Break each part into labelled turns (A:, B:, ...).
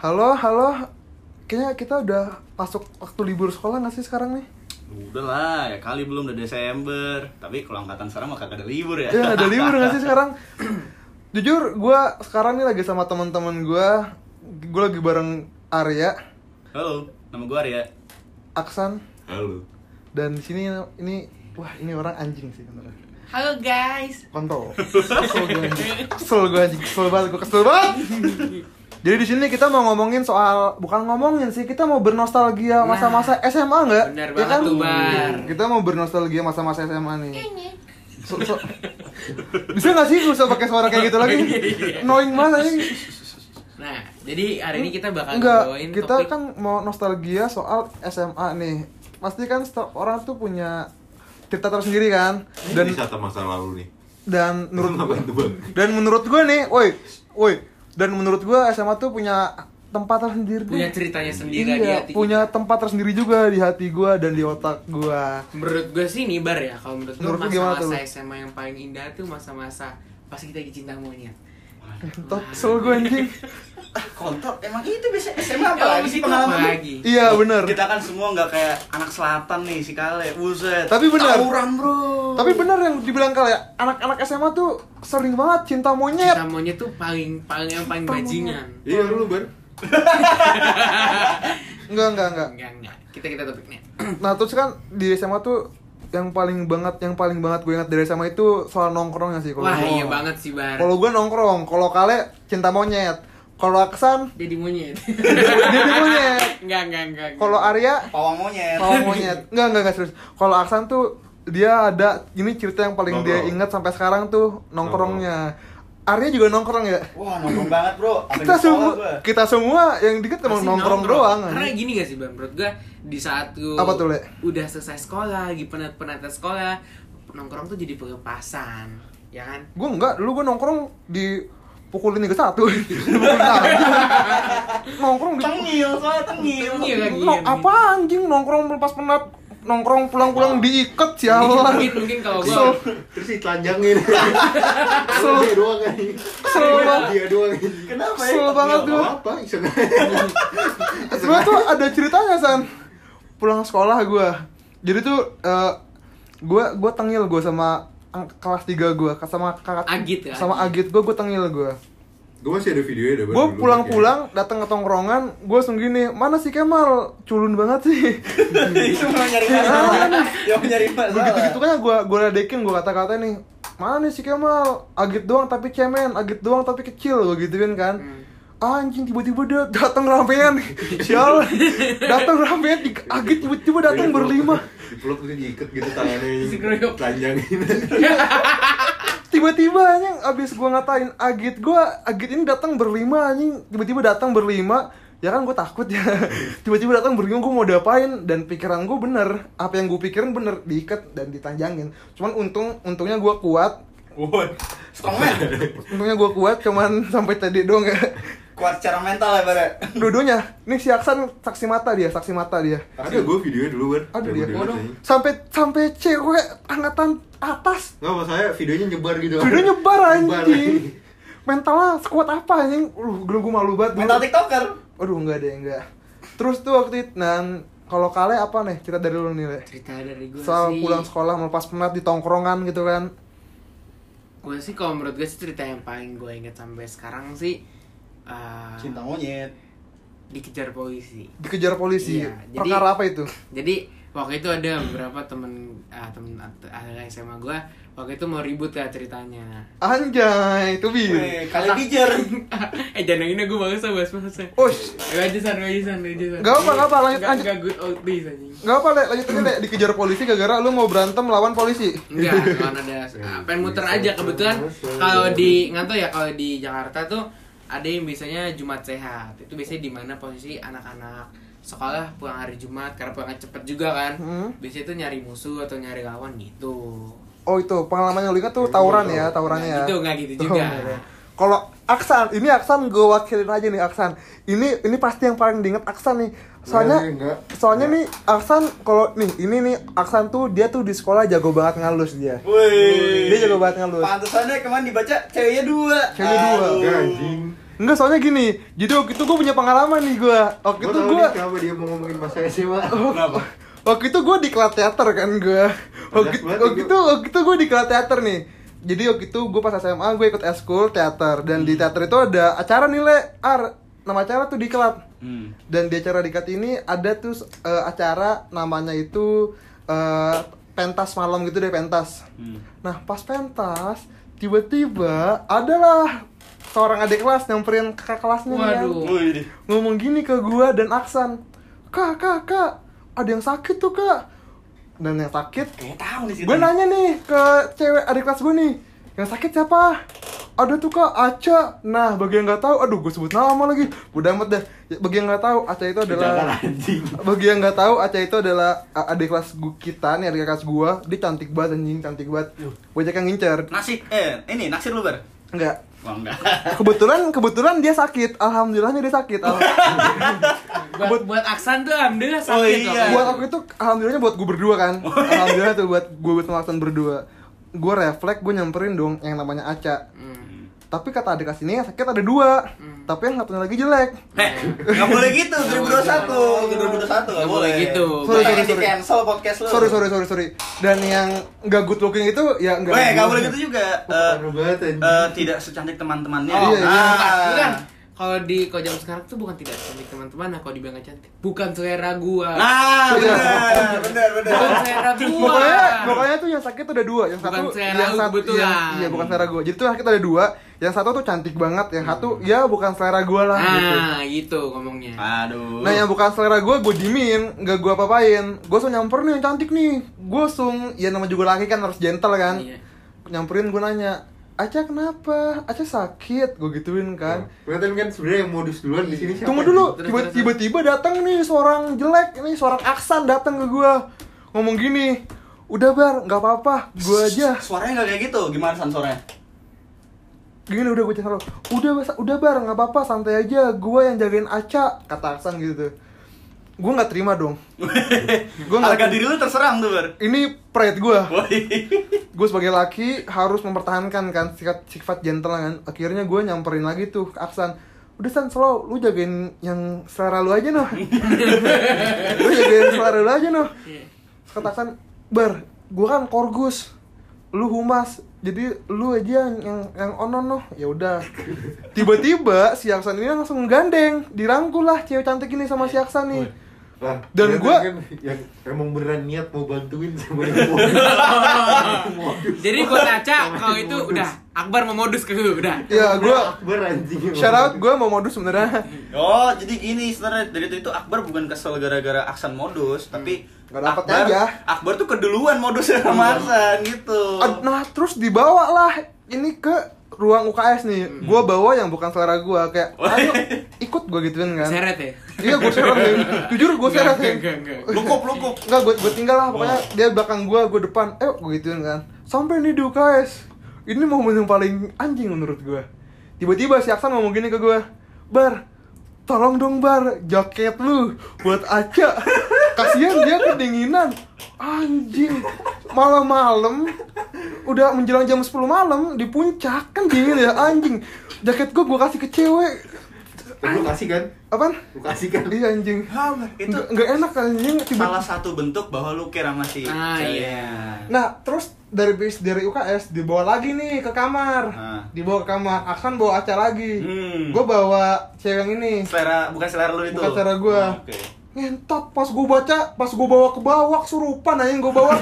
A: Halo, halo. Kayaknya kita udah masuk waktu libur sekolah nggak sih sekarang nih?
B: Udah lah, ya kali belum udah Desember. Tapi kalau angkatan sekarang mah kagak ada libur ya.
A: Ya ada libur nggak sih sekarang? Jujur, gue sekarang nih lagi sama teman-teman gue. Gue lagi bareng Arya,
B: Halo, nama gue Arya.
A: Aksan,
B: Halo.
A: dan di sini ini wah ini orang anjing sih beneran.
C: Halo guys.
A: kontol kesel gue anjing kesel gue anjing kesel banget gue kesel banget jadi di sini kita mau ngomongin soal bukan ngomongin sih kita mau bernostalgia masa-masa SMA nggak
C: benar
A: Ya
C: Nah, banget tuh, Bar.
A: kita mau bernostalgia masa-masa SMA nih So- so- bisa nggak sih gak usah pakai suara kayak gitu lagi
C: Iya,
A: knowing banget anjing
C: Nah, jadi hari ini kita bakal
A: Enggak,
C: bawain
A: kita
C: topik
A: kan mau nostalgia soal SMA nih pasti kan setiap orang tuh punya cerita tersendiri kan
D: dan
A: dan
D: wisata masa lalu nih
A: dan menurut
D: Apa itu,
A: gue
D: Bang?
A: dan menurut gue nih woi woi dan menurut gue SMA tuh punya tempat tersendiri
C: punya ceritanya sendiri di
A: Iya,
C: hati.
A: punya tempat tersendiri juga di hati gue dan di otak gue
C: Menurut gue sih nih bar ya. Kalau menurut gue
A: Menurut lu gimana
C: masa-masa
A: tuh?
C: SMA yang paling indah tuh masa-masa pas kita lagi cinta monyet.
A: Tot, kesel gue anjing
B: Kontol, emang itu biasa SMA
C: Ya,
B: apa gitu, lagi
C: abis
B: sih
C: itu apa
B: pengalaman?
C: lagi?
A: iya bener
B: Kita kan semua nggak kayak anak selatan nih si Kale, buset.
A: Tapi benar.
B: Tawuran bro.
A: tapi bener yang dibilang kali ya anak-anak SMA tuh sering banget cinta
C: Cinta
A: monyet
C: monyet tuh paling paling yang paling
A: Cinta
C: bajingan.
D: iya lu ber
A: enggak enggak enggak
C: Enggak, enggak. Kita kita topiknya.
A: nah terus kan di SMA tuh yang paling banget yang paling banget gue ingat dari SMA itu soal nongkrongnya sih kalau
C: Wah,
A: gue.
C: iya banget sih bar.
A: kalau gue nongkrong kalau kale cinta monyet kalau Aksan
C: Jadi monyet.
A: dia di monyet
C: Enggak, enggak, enggak. enggak.
A: Kalau Arya
B: Pawang monyet.
A: mau monyet. Enggak enggak enggak serius. Kalau Aksan tuh dia ada ini cerita yang paling dia
D: Nongkrong.
A: ingat sampai sekarang tuh nongkrongnya. Arya juga nongkrong ya?
B: Wah, nongkrong banget bro. Sampai
A: Kita
B: di sekolah
A: semua
B: gua.
A: kita semua yang dikit emang
C: Pasti
A: nongkrong, doang.
C: Karena gini gak sih bang, menurut gue di saat lu
A: Apa tuh, Le?
C: udah selesai sekolah, lagi penat penat sekolah, nongkrong tuh jadi pelepasan, ya kan?
A: Gue enggak, dulu gue nongkrong di pukulin tiga satu nongkrong di
B: Tengil, soalnya tengil.
C: Tengil lagi.
A: no, apa anjing nongkrong melepas penat nongkrong pulang-pulang diikat sialan
C: mungkin mungkin kalau gue
A: Kesel.
D: terus ditelanjangin
A: Iya. Kesel.
D: dia doang kan
A: Kesel banget.
D: dia doang
B: Kenapa ya?
A: Kesel banget
B: Tengil,
A: gua.
B: bro.
D: apa iseng
A: Sebenernya tuh ada ceritanya san pulang sekolah gua jadi tuh eh, gua gue tengil gua sama ang- kelas 3 gua sama kakak
C: Agit ya,
A: sama agit gua gua tengil gua
D: gue masih ada videonya deh Bar,
A: gua
D: dulu.
A: pulang-pulang datang ke tongkrongan gua langsung gini mana si Kemal culun banget sih
B: Itu Iya, mau nyari masalah. Yang nyari masalah.
A: begitu gitu kan gua gua ledekin gua kata-kata nih mana nih si Kemal agit doang tapi cemen agit doang tapi kecil gua gituin kan
C: Hmm.
A: anjing tiba-tiba dia datang ramean sial datang ramean di- agit tiba-tiba datang berlima
D: Iya, dipeluk terus diikat gitu tangannya
C: Dikeroyok.
D: telanjangin
A: tiba-tiba anjing abis gua ngatain agit gua agit ini datang berlima anjing tiba-tiba datang berlima ya kan gue takut ya tiba-tiba datang berlima gue mau diapain dan pikiran gue bener apa yang gue pikirin bener diikat dan ditanjangin cuman untung untungnya gua kuat
B: Woi, strongman.
A: untungnya gua kuat cuman sampai tadi doang ya
B: Kuat secara mental ya, Bare.
A: dua-duanya nih si Aksan saksi mata dia saksi mata dia
D: ada gue videonya dulu ber
A: Ada
D: Ada
A: dia.
D: gua
C: Waduh.
D: videonya.
A: sampai sampai cewek angkatan atas
D: nggak apa saya videonya nyebar gitu
A: Video nyebar
D: Nyebar,
A: anjing. Mentalnya sekuat apa anjing? Lu gue gue malu banget.
B: Mental TikToker.
A: Aduh enggak deh, enggak. Terus tuh waktu itu nah, kalau kale apa nih? Cerita dari lu nih, Le.
C: cerita dari gue
A: Soal
C: sih.
A: pulang sekolah melepas penat di tongkrongan gitu kan.
C: Gue sih kalau menurut gue sih cerita yang paling gue inget sampai sekarang sih eh,
B: Cinta monyet.
C: dikejar polisi.
A: Dikejar polisi.
C: Iya, jadi-
A: Perkara apa itu?
C: Jadi waktu itu ada beberapa temen ah, temen ada SMA gue waktu itu mau ribut ya ceritanya.
A: Anjay, itu bir.
B: Wih, kalian pijer.
C: eh jangan yang ini gue bahas bahas bahasa
A: Oh,
C: Gak aja san, gak aja san, gak aja san
A: Gak apa, gak apa, lanjut,
C: Gak-
A: lanjut.
C: Gak good old days anjing
A: Gak apa, Le. Lanjut aja, Le. Dikejar polisi gara-gara lu mau berantem lawan polisi.
C: Enggak, kan ada ah, pengen muter aja kebetulan kalau di nggak tahu ya kalau di Jakarta tuh ada yang biasanya Jumat sehat itu biasanya di mana posisi anak-anak sekolah pulang hari Jumat karena pulangnya cepet juga kan
A: Hmm.
C: biasanya tuh nyari musuh atau nyari lawan gitu
D: Iya,
A: Oh, itu pengalaman yang lu ingat tuh tawuran ya, tawurannya ya.
C: Nggak gitu nggak gitu
A: Tuh,
C: juga
A: nggak ada. Kalau Aksan, ini Aksan gue wakilin aja nih Aksan. Ini ini pasti yang paling diinget Aksan nih. Soalnya
D: Iya, Enggak, enggak.
A: soalnya nih Aksan kalau nih ini nih Aksan tuh dia tuh di sekolah jago banget ngalus dia.
B: Wih.
A: Dia jago banget ngelus.
B: Pantesannya kemarin dibaca ceweknya dua.
A: Ceweknya dua.
B: Aduh.
D: Enggak anjing.
A: Enggak soalnya gini, jadi waktu itu gue punya pengalaman nih gue. Waktu
D: Gue
A: itu Oh.
D: tau
A: gue
D: nih kenapa dia mau ngomongin masa SMA.
B: Kenapa?
A: waktu itu gue di Kelat Teater kan gue. Waktu,
D: Panas banget nih
A: waktu
D: gua.
A: itu waktu itu gue di Kelat Teater nih. Jadi waktu itu gue pas SMA gue ikut eskul teater dan di teater itu ada acara nih le ar nama acara tuh di Kelat.
B: Hmm.
A: Dan di acara dekat ini ada tuh eh, acara namanya itu eh, pentas malam gitu deh pentas.
B: Hmm.
A: Nah pas pentas tiba-tiba adalah seorang adik kelas nyamperin kakak kelasnya nih, kan. Yan.
C: Waduh.
B: Wih.
A: ngomong gini ke gua dan Aksan kak kak kak ada yang sakit tuh kak dan yang sakit
B: Kayak tahu nih situ.
A: gue nanya nih ke cewek adik kelas gue nih yang sakit siapa ada tuh kak Aca nah bagi yang nggak tahu aduh gue sebut nama lagi udah amat dah Ya, bagi yang nggak tahu Aca itu
B: Jangan
A: adalah
B: anjing.
A: bagi yang nggak tahu Aca itu adalah a- adik kelas gu- kita nih adik kelas gua dia cantik banget anjing cantik banget gue yang ngincer
B: Nasib eh ini naksir lu ber.
A: enggak
B: Wah enggak.
A: kebetulan kebetulan dia sakit alhamdulillahnya dia sakit Alham-
C: Buat, buat Aksan tuh alhamdulillah sakit
B: Oh, iya.
C: waktu itu.
A: buat aku itu alhamdulillahnya buat gue berdua kan alhamdulillah tuh buat gue buat Aksan berdua gue refleks gue nyamperin dong yang namanya Aca
C: Hmm.
A: tapi kata adik kelas ini yang sakit ada dua
C: Hmm.
A: tapi yang satunya lagi jelek
B: Eh, enggak boleh gitu Oh, 2021. 2021
C: Nggak
B: enggak
C: boleh
B: boleh.
C: gitu.
A: Sorry,
B: Sorry,
A: sorry,
B: Di
A: sorry.
B: cancel podcast lu.
A: sorry sorry sorry sorry dan yang gak good looking itu ya
B: Weh,
A: enggak
B: enggak boleh gitu juga. Eh,
D: Parah banget anjing.
B: eh, tidak secantik teman-temannya.
A: Oh, iya, iya.
C: Bukan,
B: Ah.
C: bukan. Kalau di kalau zaman sekarang tuh bukan tidak cantik teman-teman, nah, kalau dibilang nggak cantik. Bukan selera gua.
A: Iya.
B: Nah, benar, benar, benar.
A: Nah,
C: bukan selera gua.
A: pokoknya pokoknya tuh yang sakit ada dua yang
C: Bukan
A: satu
C: selera
A: yang
C: lu
A: satu
C: kebetulan.
A: yang- iya bukan selera gue jadi tuh yang sakit ada dua yang satu tuh cantik banget yang satu
B: Hmm.
A: ya bukan selera gue lah
B: Ah.
A: gitu
C: Nah, gitu ngomongnya.
B: Aduh.
A: Nah yang bukan selera gue, gue dimin, nggak gue apa-apain Gue langsung nyamper nih yang cantik nih Gue langsung, ya nama juga laki kan harus gentle kan
C: Iya.
A: Nyamperin gue nanya, Aca kenapa? Aca sakit, gue gituin kan
D: Kelihatan kan sebenarnya yang modus duluan di sini siapa?
A: Tunggu dulu,
C: Terus,
A: tiba-
C: terus,
A: tiba-tiba datang nih seorang jelek, nih seorang aksan datang ke gue Ngomong gini, udah bar, nggak apa-apa, gue aja
B: Suaranya nggak kayak gitu, gimana san suaranya?
A: Gini udah gue cerita udah Bas, udah bar, nggak apa-apa, santai aja, gue yang jagain Aca Kata aksan gitu Gue nggak terima dong Gua nggak-
B: Harga diri lu terserang tuh ber.
A: Ini pride gue
B: Woi.
A: gue sebagai laki harus mempertahankan kan sifat sifat gentle kan akhirnya gue nyamperin lagi tuh ke Aksan udah San slow lu jagain yang selera lu aja noh lu jagain selera lu aja noh
C: Iya.
A: kata Aksan bar gue kan korgus lu humas jadi lu aja yang yang, yang onon noh ya udah tiba-tiba si Aksan ini langsung gandeng dirangkul lah cewek cantik ini sama si Aksan nih
D: Lah,
A: Dan
D: kelihatan
A: gua-
D: kan yang emang beneran niat mau bantuin sama dia. Modus.
C: Jadi buat Aca kalau itu udah Akbar mau modus ke lu, udah.
D: iya.
A: ya gue
D: Akbar anjing.
A: shout out gue mau modus sebenarnya
B: Oh, jadi gini sebenarnya dari itu, itu Akbar bukan kesel gara-gara Aksan modus, tapi
A: Hmm. Nggak dapet
B: Akbar,
A: aja. Hmm.
B: Akbar tuh keduluan modusnya sama Aksan gitu.
A: Ad- Nah terus dibawa lah ini ke ruang UKS nih.
C: Hmm.
A: Gua bawa yang bukan selera gua kayak ayo ikut gua gituin kan.
C: Seret ya.
A: Iya gua seret Lim. Jujur gua
C: Enggak,
A: seret Lim.
C: enggak, enggak, enggak.
B: Lukup, lukup.
A: Enggak gua gua tinggal lah
B: Oh.
A: pokoknya dia belakang gua, gua depan. Eh gua gituin kan. Sampai nih di UKS. Ini momen yang paling anjing menurut gua. Tiba-tiba si Aksan ngomong gini ke gua. Bar, tolong dong Bar, jaket lu buat Aca. Kasihan dia kedinginan. Anjing. Malam-malam udah menjelang jam 10 malam di puncak kan dingin ya anjing. Jaket gua gua kasih ke cewek.
D: Lu kasih kan?
A: Apaan?
D: Lu kasih kan?
A: Iya anjing.
B: Ah, Bar, itu
A: Nggak, nggak enak anjing tiba
B: salah satu bentuk bahwa lu care sama si
C: Ah,
B: ceweknya.
C: iya.
A: Nah, terus dari bis dari UKS dibawa lagi nih ke kamar.
D: Nah.
B: Ah.
A: Dibawa ke kamar. Aksan bawa acara lagi.
B: Hmm.
A: Gue bawa cewek yang ini.
B: Selera bukan selera lu itu.
A: Nah. Bukan selera gua.
B: Oh, Oke.
A: Ngentot pas gue baca, pas gue bawa ke bawah surupan aja gue bawa.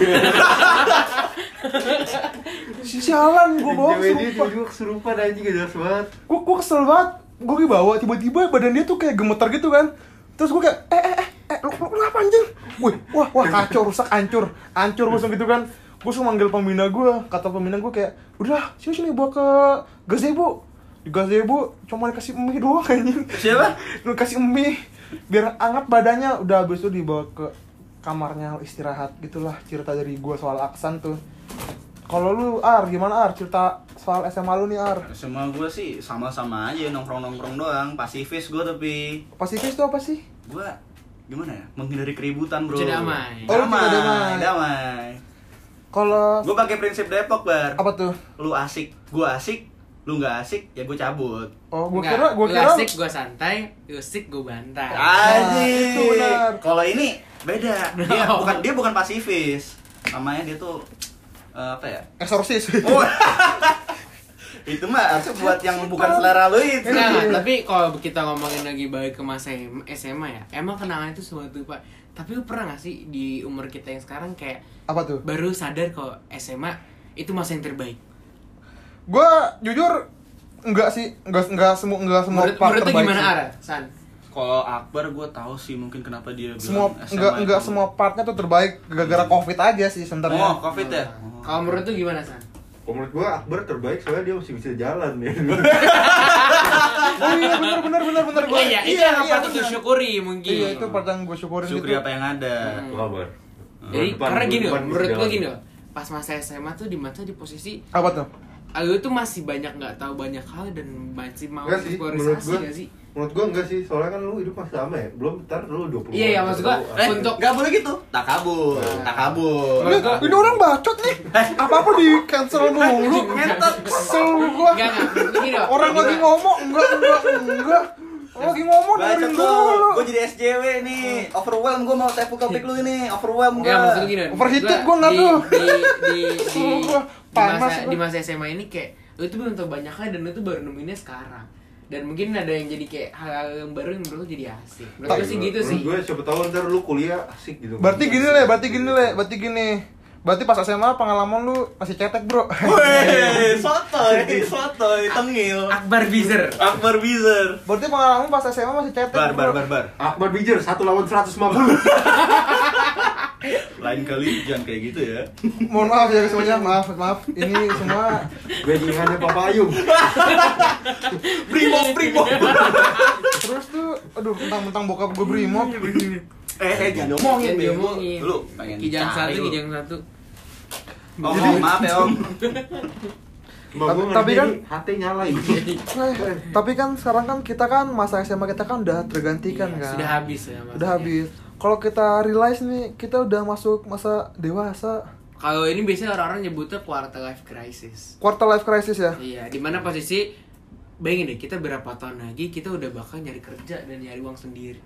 A: si sialan gue
D: Yang
A: bawa
D: Cewek dia
A: kesurupan.
D: tiba-tiba kesurupan anjing gak jelas banget.
A: Gue gue kesel banget. Gue dibawa tiba-tiba badan dia tuh kayak gemeter gitu kan. Terus gue kayak eh eh eh eh lu, lu kenapa anjing? Wih, wah wah kacau rusak hancur. Hancur gue langsung gitu kan. Gue langsung manggil pembina gue, kata pembina gue kayak, "Udah, sini sini bawa ke gazebo." Di gazebo cuma dikasih mie doang anjing.
B: Siapa?
A: Lu kasih mie biar anget badannya. Udah habis itu dibawa ke kamarnya istirahat gitulah cerita dari gue soal Aksan tuh. Kalau lu Ar gimana Ar cerita Fal SMA lu nih Ar
B: Semua gue sih sama-sama aja nongkrong-nongkrong doang, pasifis gue tapi
A: Pasifis tuh apa sih?
B: gue gimana ya? Menghindari keributan, Bro.
C: Jadi damai.
A: Oh, lu
B: damai.
A: juga damai.
B: damai.
A: Kalau
B: Gue pakai prinsip Depok, Bar.
A: apa tuh?
B: Lu asik, gue asik, lu nggak asik, ya gue cabut.
A: Oh, gua
C: Nggak,
A: kira gua
C: lu
A: kira
C: asik gua santai, lu asik gua bantai.
B: Ah. Aji.
A: Ah, itu benar.
B: Kalau ini beda. Dia
C: No.
B: bukan dia bukan pasifis. Namanya dia tuh eh, apa ya?
A: eksorsis.
C: Oh.
B: itu mah harusnya buat yang bukan selera lu itu.
C: Nah, tapi kalau kita ngomongin lagi balik ke masa M- SMA ya, emang kenangan itu suatu pak. Tapi lu pernah gak sih di umur kita yang sekarang kayak
A: apa tuh?
C: baru sadar kalau SMA itu masa yang terbaik?
A: Gua jujur enggak sih, enggak enggak semua enggak semua
C: Menurut,
A: part
C: menurut lu
A: terbaik
C: gimana
A: sih.
C: Ara? San?
B: Kalau Akbar gue tahu sih mungkin kenapa dia bilang
A: Semua
B: SMA
A: enggak
B: itu.
A: enggak semua partnya tuh terbaik gara-gara
C: Iya.
A: Covid aja sih
B: Oh,
A: sebenarnya.
B: Covid ya.
C: Kalau menurut lu gimana San?
D: Kalau menurut gua Akbar terbaik soalnya dia masih bisa jalan ya.
A: Oh iya benar benar benar benar gua.
C: Iya, itu yang patut
A: benar.
C: disyukuri mungkin.
A: Iya, itu part yang gua syukurin gitu.
B: Syukuri
C: ya?
B: apa yang ada.
C: Hmm.
D: Apa kabar?
C: Jadi
D: Depan,
C: karena gini loh,
D: depan
C: menurut
D: bisa
C: gua
D: jalan.
C: gini loh. Pas masa SMA tuh di masa di posisi
A: Apa tuh?
C: ah, lu tuh masih banyak nggak tahu banyak hal dan masih mau
D: Enggak sih, menurut
C: eksplorisasi
D: gua.
C: gak sih?
D: Menurut gua enggak sih, soalnya kan lu hidup masih lama ya. Belum ntar lu 20
C: Iya, iya, maksud gua,
B: Eh,
C: Untuk-
B: nggak boleh gitu. Tak kabur,
C: Nah.
B: tak kabur.
A: Ini, ini orang bacot nih. Apa-apa di cancel mulu.
B: Ngentot.
A: Kesel gua.
C: Enggak, enggak, menurut gini loh.
A: Orang lagi ngomong enggak enggak enggak. Orang lagi ngomong dengerin
B: Bacot
A: dulu.
B: lu. Gue jadi SJW nih. Overwhelm gue mau tepuk topik lu ini. Overwhelm gue.
C: Enggak Hmm. maksud gini.
A: Overheated
C: gua
A: gua nggak
C: di-
A: tuh.
C: Di di di,
A: Semua gua
C: di
A: panas
C: masa
A: gua.
C: di masa SMA ini kayak lu tuh belum tau banyak hal dan lu tuh baru nemuinnya sekarang. Dan mungkin ada yang jadi kayak hal-hal yang baru yang menurut lu jadi asik. Menurut
D: Tapi
C: gua sih gitu sih.
D: Gue siapa tahu ntar lu kuliah asik gitu.
A: Berarti gini le, berarti gini le, berarti gini. Berarti pas SMA pengalaman lu masih cetek, Bro.
B: Weh, sotoy, sotoy, tengil.
C: Akbar Bizer.
B: Akbar Bizer.
A: Berarti pengalaman pas SMA masih cetek,
B: Bar, bar,
A: Bro.
B: bar, bar.
D: Akbar Bijer satu lawan 150.
B: Lain kali jangan kayak gitu ya.
A: Mohon maaf ya semuanya, maaf, maaf. Ini semua
D: gue jingannya Papa Ayung.
B: Brimob, brimob.
A: terus tuh aduh mentang-mentang bokap gue brimob.
B: eh, eh, jangan diomongin,
C: Jangan
B: Bel.
C: diomongin.
B: Lu pengen
C: Kijang
B: dicari
C: satu,
B: lu.
C: kijang satu.
B: Om, om, maaf ya, Om.
D: Mbak gue
A: Tapi
D: tapi
A: kan-
D: kan hati nyala gitu.
A: Eh, tapi kan sekarang kan kita kan masa SMA kita kan udah tergantikan
C: Iya,
A: kan.
C: Sudah habis ya, Mas.
A: Udah habis. Kalau kita realize nih, kita udah masuk masa dewasa.
C: Kalau ini biasanya orang-orang nyebutnya quarter life crisis.
A: Quarter life crisis ya.
C: Iya, di mana posisi bayangin deh kita berapa tahun lagi kita udah bakal nyari kerja dan nyari uang sendiri.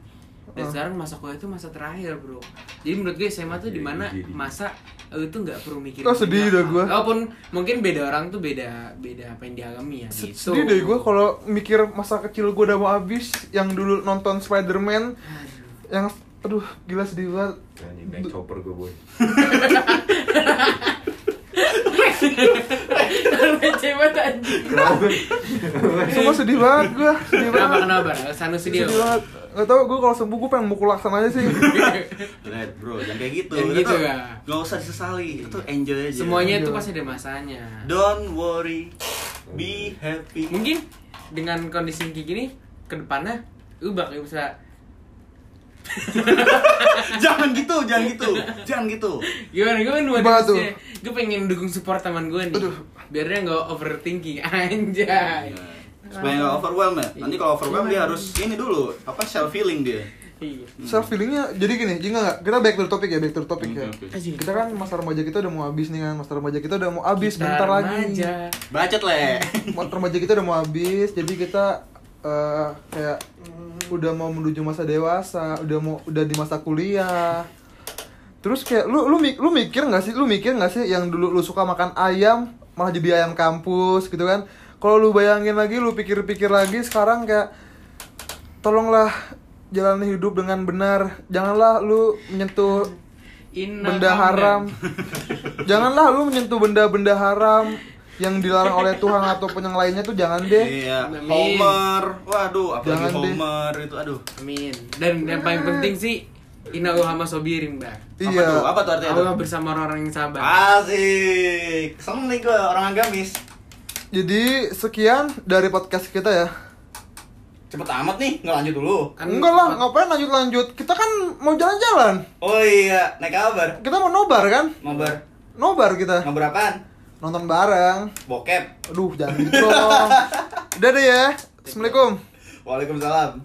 C: Dan
A: Heeh.
C: sekarang masa kuliah itu masa terakhir, Bro. Jadi menurut gue SMA tuh di mana
D: Jadi-
C: masa lu tuh nggak perlu mikirin.
A: Oh, sedih
C: banyak
A: dah
C: hal.
A: gua.
C: Walaupun mungkin beda orang tuh beda beda apa yang dialami ya
A: Se-
C: gitu.
A: Sedih deh gue kalau mikir masa kecil gue udah mau habis yang dulu nonton Spider-Man
C: Aduh.
A: yang aduh gila sedih banget.
D: Anjing naik chopper gue boy.
C: Receh banget, anjing.
D: Kenapa?
A: Semua sedih banget gue, sedih
C: Kenapa
A: banget.
C: kenapa? Sanu sedih.
A: Sedih banget. Gak tau gue kalau sembuh gue pengen mukul laksan aja sih.
B: Red, bro, jangan kayak gitu.
C: Jangan
B: Itu
C: gitu,
B: tuh
C: ya.
B: Gak usah disesali, itu tuh enjoy aja.
C: Semuanya
A: Iya.
C: itu pasti ada masanya.
B: Don't worry, be happy.
C: mungkin dengan kondisi yang kayak gini kedepannya lu bakal bisa
B: jangan gitu, jangan gitu, jangan gitu.
C: gimana gue kan
A: Gimana tuh?
C: gue pengen dukung support teman gue nih
A: Aduh.
C: biar dia nggak overthinking anjay
B: Iya. Supaya nggak overwhelm ya. Nanti kalau overwhelm dia harus ini dulu, apa self healing dia.
C: Iya.
A: Self feelingnya jadi gini, jadi nggak kita back to the topic ya, back to the topic ya.
B: Oke, oke.
C: Anjing.
A: Kita kan masa remaja kita udah mau habis nih kan, masa remaja kita udah mau habis
C: Kita
A: bentar lagi.
C: remaja.
B: Bacot le.
A: Masa remaja kita udah mau habis, jadi kita eh, kayak udah mau menuju masa dewasa, udah mau udah di masa kuliah. Terus kayak lu lu mik- lu mikir nggak sih, lu mikir nggak sih yang dulu lu suka makan ayam malah jadi ayam kampus gitu kan? Kalau lu bayangin lagi, lu pikir-pikir lagi sekarang kayak tolonglah jalani hidup dengan benar. Janganlah lu menyentuh
C: Inna
A: benda
C: Hamdan.
A: haram. Janganlah lu menyentuh benda-benda haram yang dilarang oleh Tuhan ataupun yang lainnya tuh jangan deh.
B: Iya,
C: Amin.
B: Homer. Waduh,
A: Jangan
B: apalagi
A: deh.
B: Homer itu aduh.
C: amin dan yang paling penting sih Inna Allahumma sobirin mbak
B: Apa
A: Iya.
B: tuh? Apa tuh artinya?
C: Allah
B: tuh?
C: bersama orang-orang yang sabar
B: Ah. Asik. Seneng nih gue orang agamis.
A: Jadi sekian dari podcast kita ya.
B: Cepet amat nih, nggak lanjut dulu.
C: Kan-
A: Enggak lah, ngapain lanjut-lanjut? Kita kan mau jalan-jalan.
B: Oh iya, naik kabar.
A: Kita mau nobar kan?
B: Nobar.
A: Nobar kita.
B: Nobar apaan?
A: nonton bareng.
B: Bokep.
A: Aduh, jangan gitu dong. Udah deh ya. Assalamualaikum.
B: Waalaikumsalam.